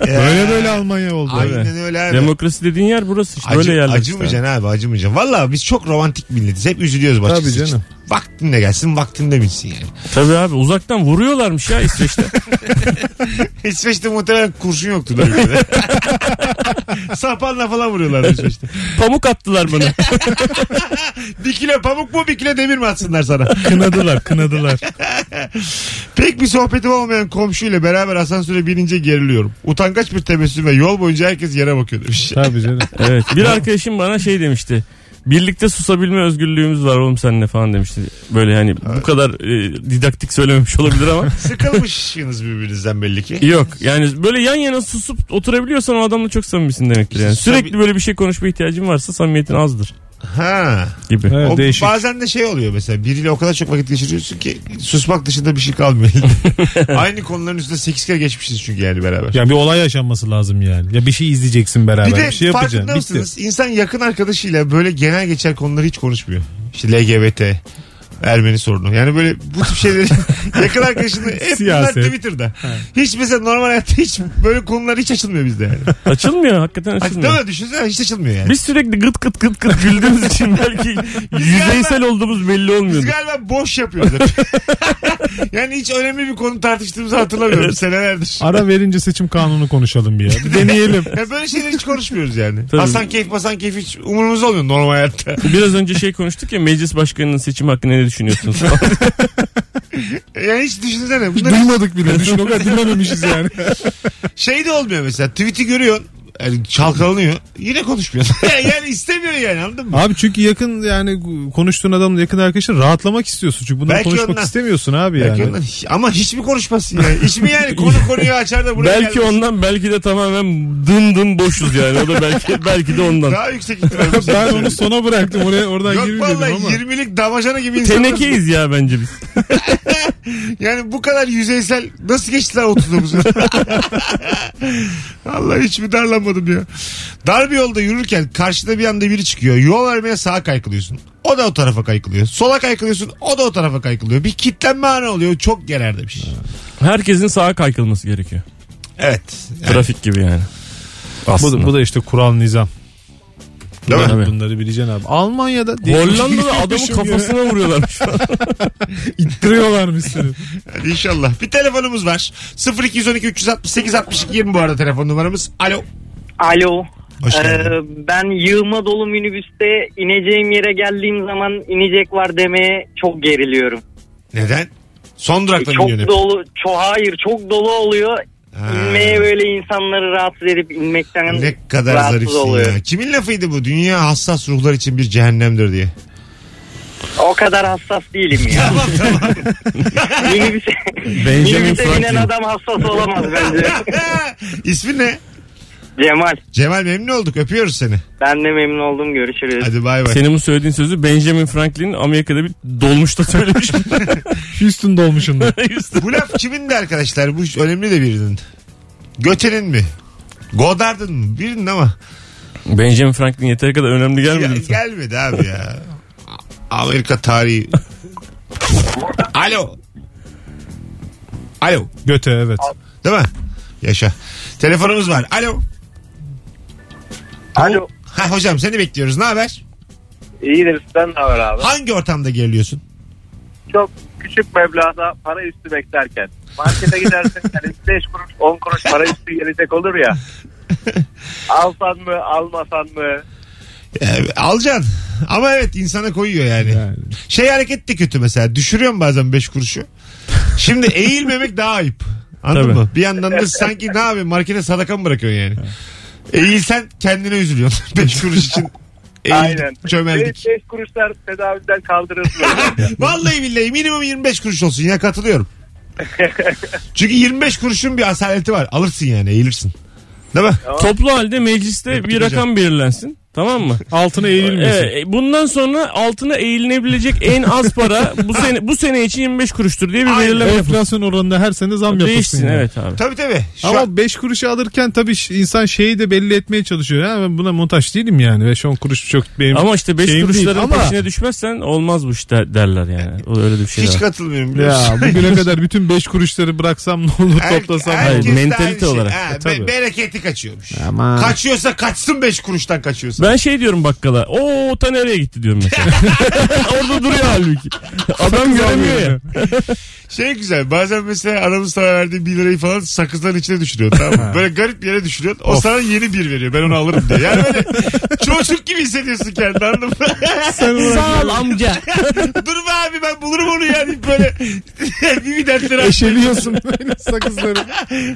Speaker 3: böyle böyle Almanya oldu.
Speaker 2: Aynen öyle abi.
Speaker 4: Demokrasi dediğin yer burası işte.
Speaker 2: Acı,
Speaker 4: Böyle yerler işte.
Speaker 2: acımayacaksın abi acımayacaksın. Valla biz çok romantik milletiz. Hep üzülüyoruz
Speaker 3: Tabii
Speaker 2: başkası için.
Speaker 3: canım.
Speaker 2: Vaktinde gelsin vaktinde bitsin yani.
Speaker 4: Tabii abi uzaktan vuruyorlarmış ya İsveç'te.
Speaker 2: İsveç'te muhtemelen kurşun yoktu da ülkede. Sapanla falan vuruyorlar İsveç'te.
Speaker 4: Pamuk attılar bana.
Speaker 2: Bir kilo pamuk mu bir kilo demir mi atsınlar sana?
Speaker 3: Kınadılar kınadılar.
Speaker 2: Pek bir sohbetim olmayan komşuyla beraber asansöre binince geriliyorum. Utangaç bir tebessüm ve yol boyunca herkes yere bakıyor demiş.
Speaker 3: Tabii canım.
Speaker 4: evet. Bir arkadaşım bana şey demişti. Birlikte susabilme özgürlüğümüz var oğlum seninle falan demişti. Böyle hani bu kadar e, didaktik söylememiş olabilir ama.
Speaker 2: Sıkılmışsınız birbirinizden belli ki.
Speaker 4: Yok yani böyle yan yana susup oturabiliyorsan o adamla çok samimisin demektir yani. Sürekli böyle bir şey konuşma ihtiyacın varsa samimiyetin azdır
Speaker 2: Ha.
Speaker 4: gibi.
Speaker 3: Evet,
Speaker 2: O
Speaker 3: değişik.
Speaker 2: bazen de şey oluyor mesela biriyle o kadar çok vakit geçiriyorsun ki susmak dışında bir şey kalmıyor. Aynı konuların üstüne 8 kere geçmişiz çünkü yani beraber.
Speaker 3: Ya bir olay yaşanması lazım yani. Ya bir şey izleyeceksin beraber.
Speaker 2: Bir
Speaker 3: Bir,
Speaker 2: de
Speaker 3: şey yapacaksın.
Speaker 2: farkında
Speaker 3: Bitti.
Speaker 2: mısınız? İnsan yakın arkadaşıyla böyle genel geçer konuları hiç konuşmuyor. İşte LGBT, Ermeni sorunu. Yani böyle bu tip şeyleri yakın arkadaşını hep bunlar
Speaker 3: Siyaset.
Speaker 2: Twitter'da. Hiç mesela normal hayatta hiç böyle konular hiç açılmıyor bizde yani.
Speaker 4: Açılmıyor hakikaten
Speaker 2: Hani
Speaker 4: açılmıyor.
Speaker 2: değil mi? Düşünsene hiç açılmıyor yani.
Speaker 4: Biz sürekli gıt gıt gıt gıt güldüğümüz için belki yüzeysel olduğumuz belli
Speaker 2: Biz
Speaker 4: olmuyordu.
Speaker 2: galiba boş yapıyoruz hep. yani hiç önemli bir konu tartıştığımızı hatırlamıyorum senelerdir.
Speaker 3: Ara verince seçim kanunu konuşalım bir ya. Bir deneyelim.
Speaker 2: Ya böyle şeyleri hiç konuşmuyoruz yani.
Speaker 4: Tabii.
Speaker 2: Hasan keyif, Hasan keyif hiç umurumuz olmuyor normal hayatta.
Speaker 4: Biraz önce şey konuştuk ya meclis başkanının seçimi hakkında ne düşünüyorsunuz?
Speaker 2: Yani hiç düşünsene. Bunları
Speaker 3: Duymadık bile. Düşün o kadar dinlememişiz yani.
Speaker 2: Şey de olmuyor mesela tweet'i görüyorsun. Yani çalkalanıyor. Yine konuşmuyorsun. yani istemiyorsun yani anladın mı?
Speaker 3: Abi çünkü yakın yani konuştuğun adamla yakın arkadaşın rahatlamak istiyorsun. Çünkü bunları
Speaker 2: Belki
Speaker 3: konuşmak
Speaker 2: ondan.
Speaker 3: istemiyorsun abi
Speaker 2: Belki
Speaker 3: yani.
Speaker 2: ondan- ama hiç mi konuşmasın yani? Hiç mi yani konu konuyu açar da buraya
Speaker 4: belki
Speaker 2: gelmez?
Speaker 4: ondan belki de tamamen dım dım boşuz yani. O da belki belki de ondan.
Speaker 2: Daha yüksek ihtimalle. bir şey
Speaker 3: ben onu
Speaker 2: söyleyeyim.
Speaker 3: sona bıraktım. Oraya, oradan
Speaker 2: Yok
Speaker 3: girmeyeyim
Speaker 2: vallahi
Speaker 3: dedim ama.
Speaker 2: 20'lik damacana gibi insanlar.
Speaker 4: Tenekeyiz ya bence biz.
Speaker 2: Yani bu kadar yüzeysel nasıl geçtiler 39'u? vallahi hiç mi darlanmadım ya? Dar bir yolda yürürken karşıda bir anda biri çıkıyor. Yol vermeye sağa kaykılıyorsun. O da o tarafa kaykılıyor. Sola kaykılıyorsun. O da o tarafa kaykılıyor. Bir kitlenme anı oluyor. Çok şey. gerer demiş.
Speaker 4: Herkesin sağa kaykılması gerekiyor.
Speaker 2: Evet.
Speaker 4: Trafik gibi yani.
Speaker 3: Bu, da- bu da işte kural nizam.
Speaker 2: Değil mi?
Speaker 4: Tabii.
Speaker 3: Bunları bileceksin abi. Almanya'da şey
Speaker 4: Hollanda'da adamın kafasına vuruyorlarmış.
Speaker 3: ittiriyorlarmış seni.
Speaker 2: Hadi inşallah. Bir telefonumuz var. 0212 368 62 20 bu arada telefon numaramız. Alo.
Speaker 7: Alo.
Speaker 2: Hoş
Speaker 7: Ee,
Speaker 2: geldin.
Speaker 7: ben yığma dolu minibüste ineceğim yere geldiğim zaman inecek var demeye çok geriliyorum.
Speaker 2: Neden? Son durakta mı
Speaker 7: çok
Speaker 2: iniyorsun hep?
Speaker 7: dolu, çok hayır çok dolu oluyor.
Speaker 2: Ha.
Speaker 7: İnmeye böyle insanları rahatsız edip inmekten
Speaker 2: Ne kadar
Speaker 7: rahatsız
Speaker 2: zarifsin
Speaker 7: oluyor.
Speaker 2: ya. Kimin lafıydı bu? Dünya hassas ruhlar için bir cehennemdir diye.
Speaker 7: O kadar hassas değilim ya.
Speaker 2: tamam tamam.
Speaker 7: minibüse,
Speaker 4: Benjamin
Speaker 7: minibüse inen
Speaker 4: Franklin.
Speaker 7: adam hassas olamaz bence.
Speaker 2: İsmin ne?
Speaker 7: Cemal
Speaker 2: Cemal memnun olduk. Öpüyoruz seni.
Speaker 7: ben de memnun oldum görüşürüz.
Speaker 2: Hadi bay bay.
Speaker 4: Senin bu söylediğin sözü Benjamin Franklin Amerika'da bir dolmuşta söylemiş.
Speaker 3: Houston dolmuşunda.
Speaker 2: Bu laf kimindi arkadaşlar? Bu önemli de birinin. Göte'nin mi? Godard'ın mı? Birinin ama.
Speaker 4: Benjamin Franklin yeteri kadar önemli
Speaker 2: Ya,
Speaker 4: gelmedi. mi sana?
Speaker 2: gelmedi abi ya. Amerika tarihi. Alo. Alo.
Speaker 3: Göte evet.
Speaker 2: Değil mi? Yaşa. Telefonumuz var. Alo.
Speaker 8: Alo.
Speaker 2: Ha hocam seni bekliyoruz. Ne haber?
Speaker 8: İyidir sizden ne haber abi?
Speaker 2: Hangi ortamda geriliyorsun?
Speaker 8: Çok küçük meblağda para üstü beklerken. Markete gidersin yani 5 kuruş 10 kuruş para üstü gelecek olur ya. Alsan mı almasan mı?
Speaker 2: Ee, alacaksın. Ama evet insana koyuyor yani.
Speaker 3: Yani.
Speaker 2: Şey hareket de kötü mesela. Düşürüyorum bazen 5 kuruşu. Şimdi eğilmemek daha ayıp. Anladın
Speaker 4: Tabii.
Speaker 2: mı? Bir yandan da sanki ne yapayım markete sadaka mı bırakıyorsun yani? Eğilsen kendine üzülüyorsun. 5 kuruş için eğildik,
Speaker 8: Aynen.
Speaker 2: çömeldik.
Speaker 8: 5 kuruşlar tedaviden kaldırılmıyor.
Speaker 2: Vallahi billahi minimum 25 kuruş olsun ya katılıyorum. Çünkü 25 kuruşun bir asaleti var. Alırsın yani eğilirsin. Değil mi?
Speaker 4: Toplu halde mecliste bir rakam belirlensin. Tamam mı?
Speaker 3: şey Altına eğilmesin.
Speaker 4: Evet, e, bundan sonra altına eğilinebilecek en az para bu sene bu sene için 25 kuruştur diye bir
Speaker 2: Aynen.
Speaker 4: belirleme yapılsın.
Speaker 3: Enflasyon oranında her sene zam yapılsın.
Speaker 4: Değişsin
Speaker 3: yani.
Speaker 4: evet abi.
Speaker 2: Tabii tabii. Şu an-
Speaker 3: Ama 5 kuruşu alırken tabii ş- insan şeyi de belli etmeye çalışıyor. Ha, ben buna muhtaç değilim yani. 5-10 kuruş çok benim
Speaker 4: Ama işte 5
Speaker 3: Şey şeyim
Speaker 4: kuruşların
Speaker 3: değil. Ama- E,
Speaker 4: peşine düşmezsen olmaz bu iş de- derler yani. O öyle de bir şey
Speaker 2: hiç
Speaker 4: var.
Speaker 2: katılmıyorum. biliyor musun?
Speaker 3: Ya bugüne kadar bütün 5 kuruşları bıraksam ne olur
Speaker 2: Her-
Speaker 3: toplasam ne
Speaker 2: herkes
Speaker 3: olur.
Speaker 2: de aynı
Speaker 4: mentalite olarak.
Speaker 2: Ha,
Speaker 4: E,
Speaker 2: be-
Speaker 3: tabii.
Speaker 2: bereketi kaçıyormuş.
Speaker 3: Aman.
Speaker 2: Kaçıyorsa kaçsın 5 kuruştan kaçıyorsa.
Speaker 4: Ben şey diyorum bakkala. O ta nereye gitti diyorum mesela. Orada duruyor halbuki. Adam göremiyor ya.
Speaker 2: Şey güzel bazen mesela aramız sana verdiği 1 lirayı falan sakızların içine düşürüyor tamam mı? Böyle garip bir yere düşürüyorsun. O sana yeni bir veriyor ben onu alırım diye. Yani böyle çocuk gibi hissediyorsun kendini anladın mı?
Speaker 4: Sağ ol amca.
Speaker 2: Dur be abi ben bulurum onu yani böyle bir bir dertler aç.
Speaker 3: Eşeliyorsun böyle sakızları.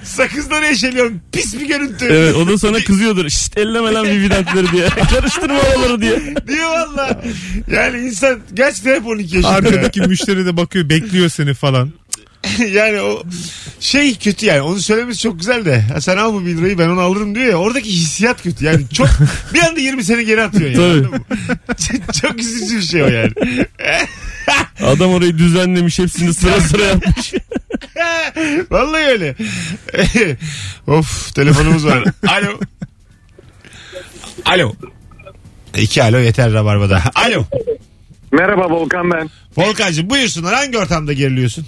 Speaker 2: sakızları eşeliyorum pis bir görüntü.
Speaker 4: Evet o da sana kızıyordur. Şşt elleme lan vividentleri diye. Karıştırma oraları diye.
Speaker 2: Diyor valla. Yani insan gerçekten hep 12 yaşında.
Speaker 3: Arkadaki müşteri de bakıyor bekliyor seni falan.
Speaker 2: yani o şey kötü yani onu söylemesi çok güzel de "Ha sen al bu 1 lirayı ben onu alırım diyor ya oradaki hissiyat kötü yani çok bir anda 20 sene geri atıyor yani.
Speaker 4: Tabii.
Speaker 2: Anladın mı? Çok- çok üzücü bir şey o yani.
Speaker 4: Adam orayı düzenlemiş hepsini sıra sıra yapmış.
Speaker 2: Vallahi öyle. of telefonumuz var. Alo. Alo. İki alo yeter rabarbada. Alo.
Speaker 8: Merhaba Volkan ben.
Speaker 2: Volkan'cığım buyursunlar hangi ortamda geriliyorsun?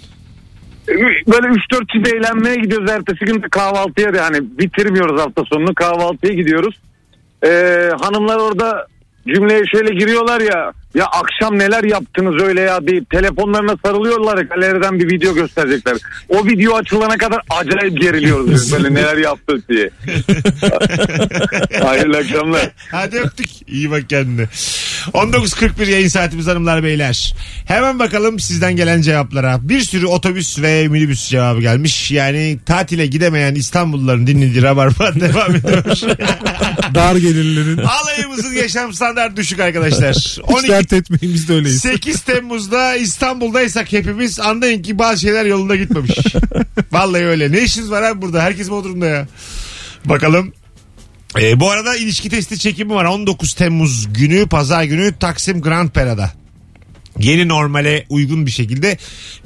Speaker 8: Böyle 3-4 kişi eğlenmeye gidiyoruz. Ertesi gün de kahvaltıya da hani bitirmiyoruz hafta sonunu. Kahvaltıya gidiyoruz. Ee, hanımlar orada cümleye şöyle giriyorlar ya. Ya akşam neler yaptınız öyle ya deyip telefonlarına sarılıyorlar. ya, Galeriden bir video gösterecekler. O video açılana kadar acayip geriliyoruz. biz böyle neler yaptık diye. Hayırlı akşamlar.
Speaker 2: Hadi öptük. İyi bak kendine. 19.41 yayın saatimiz hanımlar beyler. Hemen bakalım sizden gelen cevaplara. Bir sürü otobüs ve minibüs cevabı gelmiş. Yani tatile gidemeyen İstanbulluların dinlediği rabarba devam ediyor.
Speaker 3: Dar gelirlerin.
Speaker 2: Alayımızın yaşam standartı düşük arkadaşlar.
Speaker 3: Hiç
Speaker 2: 12
Speaker 3: dert etmeyin biz de öyleyiz.
Speaker 2: 8 Temmuz'da İstanbul'daysak hepimiz anlayın ki bazı şeyler yolunda gitmemiş. Vallahi öyle. Ne işiniz var abi burada? Herkes Bodrum'da ya. Bakalım. Ee, bu arada ilişki testi çekimi var. 19 Temmuz günü pazar günü Taksim Grand Pera'da. Yeni normale uygun bir şekilde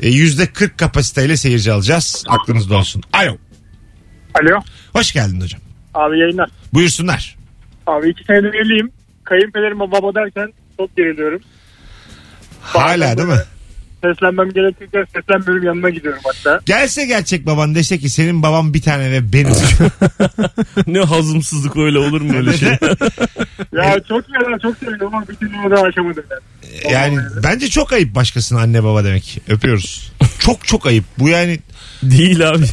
Speaker 2: e, %40 kapasiteyle seyirci alacağız. Aklınızda olsun. Alo.
Speaker 9: Alo.
Speaker 2: Hoş geldin hocam.
Speaker 9: Abi yayınlar.
Speaker 2: Buyursunlar.
Speaker 9: Abi iki senedir evliyim. Kayınpederim baba derken çok geriliyorum.
Speaker 2: Hala değil mi?
Speaker 9: seslenmem gerekirken seslenmiyorum yanına gidiyorum hatta.
Speaker 2: Gelse gerçek baban dese ki senin babam bir tane ve benim.
Speaker 4: ne hazımsızlık öyle olur mu öyle şey?
Speaker 9: Ya çok yalan çok seviyorum ama bütün bunu da aşamadım ben.
Speaker 2: yani bence çok ayıp başkasına anne baba demek. Öpüyoruz. Çok çok ayıp. Bu yani
Speaker 4: Değil abi.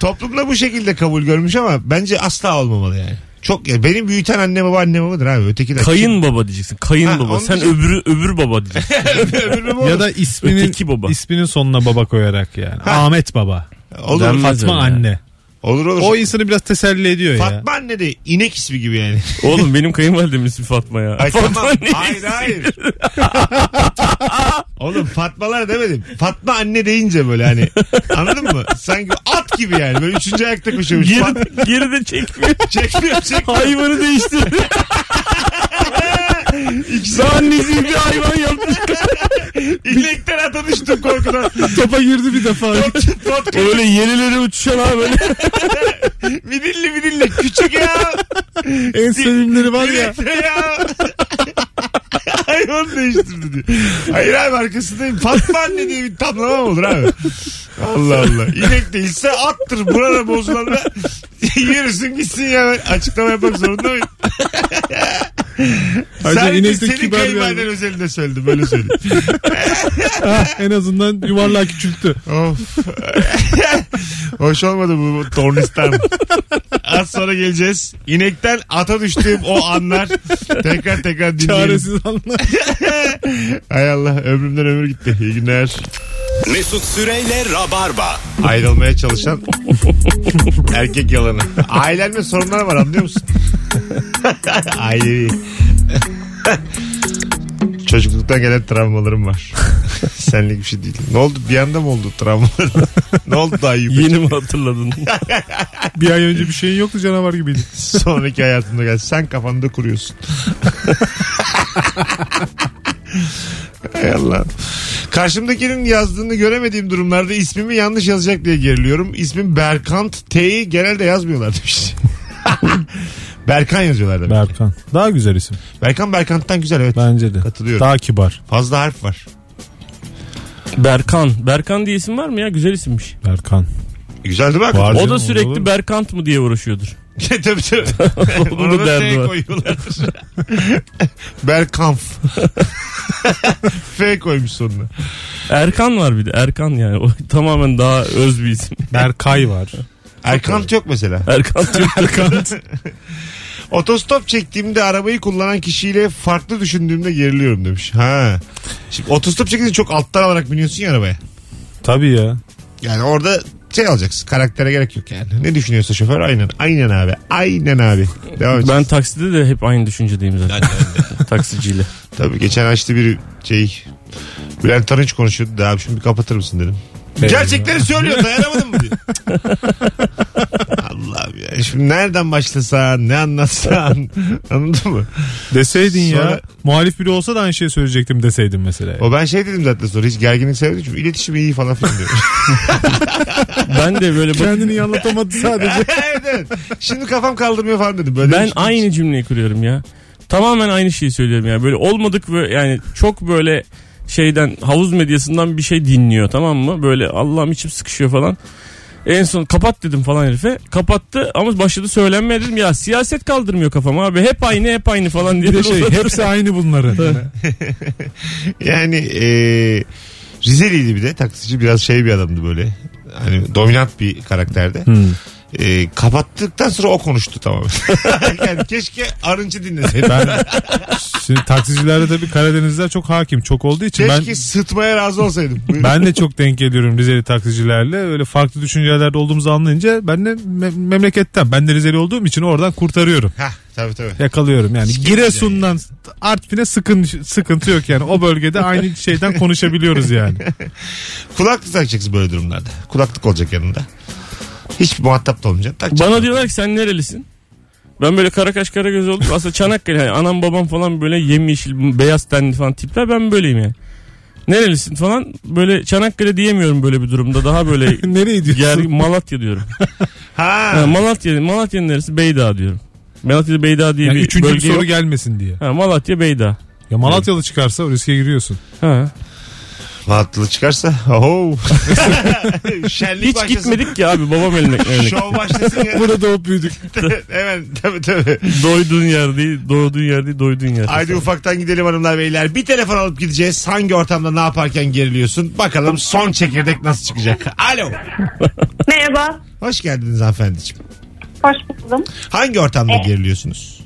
Speaker 2: toplumda bu şekilde kabul görmüş ama bence asla olmamalı yani. Çok ya benim büyüten anne baba anne babadır abi. Öteki de
Speaker 4: Kayın baba diyeceksin.
Speaker 2: Ha,
Speaker 4: Kayın baba.
Speaker 2: onu
Speaker 4: Sen
Speaker 2: diyeceğim.
Speaker 4: öbürü öbür baba diyeceksin.
Speaker 2: Öbür baba
Speaker 3: Ya da isminin
Speaker 4: Öteki baba.
Speaker 3: isminin sonuna baba koyarak yani. Ahmet baba.
Speaker 2: olur.
Speaker 4: Denmez
Speaker 3: Fatma
Speaker 4: öyle
Speaker 3: anne.
Speaker 2: Olur olur.
Speaker 3: O insanı biraz teselli ediyor ya.
Speaker 2: Fatma anne de inek ismi gibi yani.
Speaker 4: Oğlum benim kayınvalidemin ismi Fatma ya.
Speaker 2: Ay,
Speaker 4: Fatma
Speaker 2: tamam.
Speaker 4: ne?
Speaker 2: Hayır hayır. Oğlum Fatmalar demedim. Fatma anne deyince böyle hani anladın mı? Sanki at gibi yani. Böyle üçüncü ayakta koşuyormuş. Fat-
Speaker 4: Geri, geri de çekmiyor.
Speaker 2: çekmiyor çekmiyor.
Speaker 4: Hayvanı değiştirdi. Daha nezih bir hayvan yapmış.
Speaker 2: İnekten ata düştüm korkudan.
Speaker 3: Topa girdi bir defa.
Speaker 2: Tot
Speaker 4: Böyle yenileri uçuşan abi böyle.
Speaker 2: midilli midilli küçük ya.
Speaker 3: en sevimleri var ya.
Speaker 2: Evet ya. Hayvan değiştirdi diyor. Hayır abi arkasındayım. Fatma anne diye bir tamlama mı olur abi. Allah Allah. İnek değilse attır. Burada bozulanda yürüsün gitsin ya. Açıklama yapmak zorunda mıyım?
Speaker 3: Ayrıca
Speaker 2: Sadece
Speaker 3: inek de
Speaker 2: senin
Speaker 3: kibar bir
Speaker 2: kayınvaliden
Speaker 3: hayvan.
Speaker 2: özelinde söyledim. Böyle söyledim.
Speaker 3: en azından yuvarlağı küçülttü.
Speaker 2: Of. Hoş olmadı bu tornistan. Az sonra geleceğiz. İnekten ata düştüğüm o anlar tekrar tekrar dinleyelim.
Speaker 3: Çaresiz anlar.
Speaker 2: Hay Allah ömrümden ömür gitti. İyi günler.
Speaker 1: Mesut Süreyle Rabarba.
Speaker 2: Ayrılmaya çalışan erkek yalanı. Ailenle sorunlar var anlıyor musun? Ailevi. Çocukluktan gelen travmalarım var. Senlik bir şey değil. Ne oldu? Bir anda mı oldu travmalar? ne oldu daha iyi?
Speaker 4: Yeni mi hatırladın?
Speaker 3: bir ay önce bir şeyin yoktu canavar gibiydi.
Speaker 2: Sonraki hayatımda gel. Sen kafanda kuruyorsun. Hay Allah. Karşımdakinin yazdığını göremediğim durumlarda ismimi yanlış yazacak diye geriliyorum. İsmim Berkant T'yi genelde yazmıyorlar demiş. Berkan yazıyorlar demiş.
Speaker 3: Berkan. Daha güzel isim.
Speaker 2: Berkan Berkant'tan güzel evet.
Speaker 3: Bence de.
Speaker 2: Katılıyorum.
Speaker 3: Daha kibar.
Speaker 2: Fazla harf var.
Speaker 4: Berkan. Berkan diye isim var mı ya? Güzel isimmiş.
Speaker 3: Berkan.
Speaker 2: E, Güzel değil mi?
Speaker 3: Var.
Speaker 2: hakikaten?
Speaker 4: O
Speaker 3: canım,
Speaker 4: da
Speaker 3: olur
Speaker 4: sürekli
Speaker 3: mu?
Speaker 4: Berkant mı diye uğraşıyordur.
Speaker 2: tabii tabii.
Speaker 4: Onun
Speaker 2: Ona
Speaker 4: da
Speaker 2: da şey
Speaker 4: derdi
Speaker 2: T
Speaker 4: var.
Speaker 2: koyuyorlardır. Berkanf. F koymuş sonuna.
Speaker 4: Erkan var bir de. Erkan yani. O tamamen daha öz bir isim.
Speaker 3: Berkay var.
Speaker 2: Erkant yok mesela.
Speaker 4: Erkan diyor.
Speaker 2: Otostop çektiğimde arabayı kullanan kişiyle farklı düşündüğümde geriliyorum demiş. Ha. Şimdi otostop çekince çok alttan alarak biniyorsun ya arabaya.
Speaker 3: Tabii ya.
Speaker 2: Yani orada şey alacaksın. Karaktere gerek yok yani. Ne düşünüyorsa şoför aynen. Aynen abi. Aynen abi. Devam edeceğiz.
Speaker 4: Ben takside de hep aynı düşüncedeyim zaten. Taksiciyle.
Speaker 2: Tabii geçen açtı bir şey. Bülent Arınç konuşuyordu. Da abi şimdi bir kapatır mısın dedim. Gerçekleri söylüyor dayanamadın mı diye. Allah'ım ya. Şimdi nereden başlasan ne anlatsan anladın mı?
Speaker 3: Deseydin
Speaker 2: Sonra-
Speaker 3: ya. Muhalif biri olsa da aynı şeyi söyleyecektim deseydin mesela.
Speaker 2: O ben şey dedim zaten sonra hiç gerginlik sevmedim çünkü iletişim iyi falan filan diyor.
Speaker 4: Ben de böyle bak-
Speaker 3: Kendini iyi anlatamadı sadece.
Speaker 2: evet, evet. Şimdi kafam kaldırmıyor falan dedim. Böyle
Speaker 4: ben
Speaker 2: bir-
Speaker 4: aynı cümleyi kuruyorum ya. Tamamen aynı şeyi söylüyorum ya. Böyle olmadık ve yani çok böyle şeyden havuz medyasından bir şey dinliyor tamam mı? Böyle Allah'ım içim sıkışıyor falan. En son kapat dedim falan herife. Kapattı ama başladı söylenmeye dedim ya siyaset kaldırmıyor kafam abi. Hep aynı hep aynı falan diye.
Speaker 3: Bir de şey hepsi aynı bunların.
Speaker 2: Yani e, Rizeliydi bir de taksici biraz şey bir adamdı böyle. Hani dominant bir karakterde.
Speaker 4: Hmm.
Speaker 2: E, kapattıktan sonra o konuştu tamamen. yani keşke Arınç'ı dinleseydim.
Speaker 3: ben şimdi taksicilerde tabii Karadenizler çok hakim çok olduğu için
Speaker 2: keşke sıtmaya razı olsaydım.
Speaker 3: ben
Speaker 2: Buyurun.
Speaker 3: ben de çok denk geliyorum Rizeli taksicilerle. Öyle farklı düşüncelerde olduğumuzu anlayınca ben de me- memleketten ben de Rizeli olduğum için oradan kurtarıyorum.
Speaker 2: Hah tabii tabii.
Speaker 3: Yakalıyorum yani. Giresun'dan Artvin'e sıkın, sıkıntı yok yani. O bölgede aynı şeyden konuşabiliyoruz yani.
Speaker 2: Kulaklık takacaksın böyle durumlarda. Kulaklık olacak yanında. Hiç muhatap da olmayacaksın. Takacaksın.
Speaker 4: Bana diyorlar ki sen nerelisin? Ben böyle kara kaş kara göz oldum. Aslında Çanakkale yani anam babam falan böyle yemyeşil beyaz tenli falan tipler ben böyleyim yani. Nerelisin falan böyle Çanakkale diyemiyorum böyle bir durumda. Daha böyle
Speaker 3: Nereye
Speaker 4: yer
Speaker 3: diyorsun?
Speaker 4: Malatya diyorum.
Speaker 2: Ha.
Speaker 4: Ha, Malatya Malatya'nın neresi? Beydağ diyorum. Malatya'da Beydağ diye
Speaker 3: Yani
Speaker 4: bir
Speaker 3: üçüncü bir
Speaker 4: bölge
Speaker 3: soru
Speaker 4: yok.
Speaker 3: gelmesin diye.
Speaker 4: Ha, Malatya Beydağ.
Speaker 3: Ya Malatyalı çıkarsa riske giriyorsun.
Speaker 4: Ha.
Speaker 2: Fatlı çıkarsa. oho. Şenlik
Speaker 4: Hiç
Speaker 2: başlasın.
Speaker 4: gitmedik ki abi babam eline. eline.
Speaker 2: Şov başlasın ya.
Speaker 3: Burada doğup büyüdük.
Speaker 2: Hemen tabii tabii.
Speaker 4: Doyduğun yer değil, doğduğun yer değil, doyduğun yer.
Speaker 2: Haydi ufaktan gidelim hanımlar beyler. Bir telefon alıp gideceğiz. Hangi ortamda ne yaparken geriliyorsun? Bakalım son çekirdek nasıl çıkacak? Alo.
Speaker 10: Merhaba.
Speaker 2: Hoş geldiniz hanımefendiciğim.
Speaker 10: Hoş buldum.
Speaker 2: Hangi ortamda geriliyorsunuz?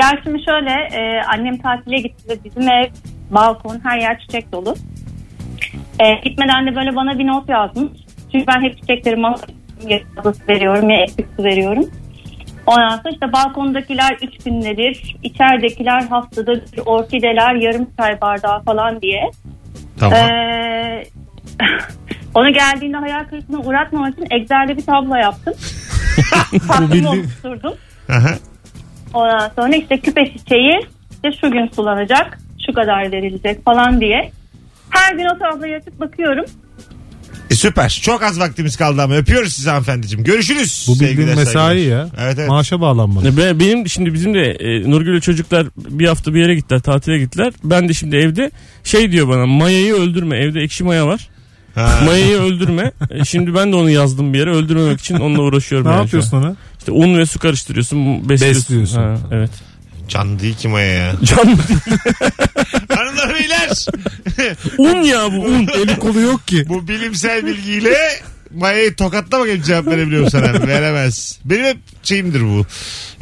Speaker 10: ya şimdi şöyle e, annem tatile gitti ve bizim ev balkon her yer çiçek dolu. E, gitmeden de böyle bana bir not yazmış. Çünkü ben hep çiçeklerime ya fazlası veriyorum ya eksik su veriyorum. Ondan sonra işte balkondakiler üç günde bir, içeridekiler haftada bir, orkideler yarım çay bardağı falan diye.
Speaker 2: Tamam.
Speaker 10: Ee, onu geldiğinde hayal kırıklığına uğratmamak için Excel'de bir tablo yaptım.
Speaker 3: bildi-
Speaker 10: Tatlımı oluşturdum.
Speaker 2: Aha.
Speaker 10: Ondan sonra işte küpe çiçeği işte şu gün sulanacak, şu kadar verilecek falan diye. Her gün o tabloya açıp bakıyorum.
Speaker 2: E, süper. Çok az vaktimiz kaldı ama öpüyoruz sizi hanımefendiciğim. Görüşürüz.
Speaker 3: Bu bildiğin
Speaker 2: Sevgiler,
Speaker 3: mesai
Speaker 2: saygılar.
Speaker 3: ya.
Speaker 2: Evet evet.
Speaker 3: Maaşa bağlanmadı.
Speaker 4: Ne be- E, Benim şimdi bizim de e, Nurgül'le çocuklar bir hafta bir yere gittiler tatile gittiler. Ben de şimdi evde şey diyor bana mayayı öldürme evde ekşi maya var.
Speaker 2: Ha.
Speaker 4: Mayayı öldürme. E, şimdi ben de onu yazdım bir yere öldürmemek için onunla uğraşıyorum.
Speaker 3: Ne
Speaker 4: yani şu an.
Speaker 3: yapıyorsun ona?
Speaker 4: İşte un ve su karıştırıyorsun besliyorsun.
Speaker 3: Besliyorsun.
Speaker 4: Ha, evet.
Speaker 2: Can değil ki Maya ya.
Speaker 4: Can,
Speaker 2: Hanımlar beyler.
Speaker 4: un ya bu un.
Speaker 3: Eli kolu yok ki.
Speaker 2: Bu bilimsel bilgiyle Maya'yı tokatla bakayım cevap verebiliyorum sana. Veremez. Benim hep şeyimdir bu.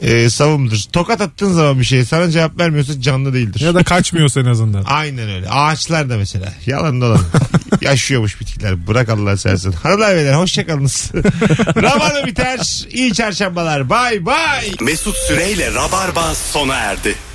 Speaker 2: Ee, savımdır. Tokat attığın zaman bir şey sana cevap vermiyorsa canlı değildir.
Speaker 3: Ya da kaçmıyorsa en azından.
Speaker 2: Aynen öyle. Ağaçlar da mesela. Yalan dolan. Yaşıyormuş bitkiler. Bırak Allah sersin. Hanımlar beyler hoşçakalınız. Rabarba biter. İyi çarşambalar. Bay bay.
Speaker 1: Mesut Süreyle Rabarba sona erdi.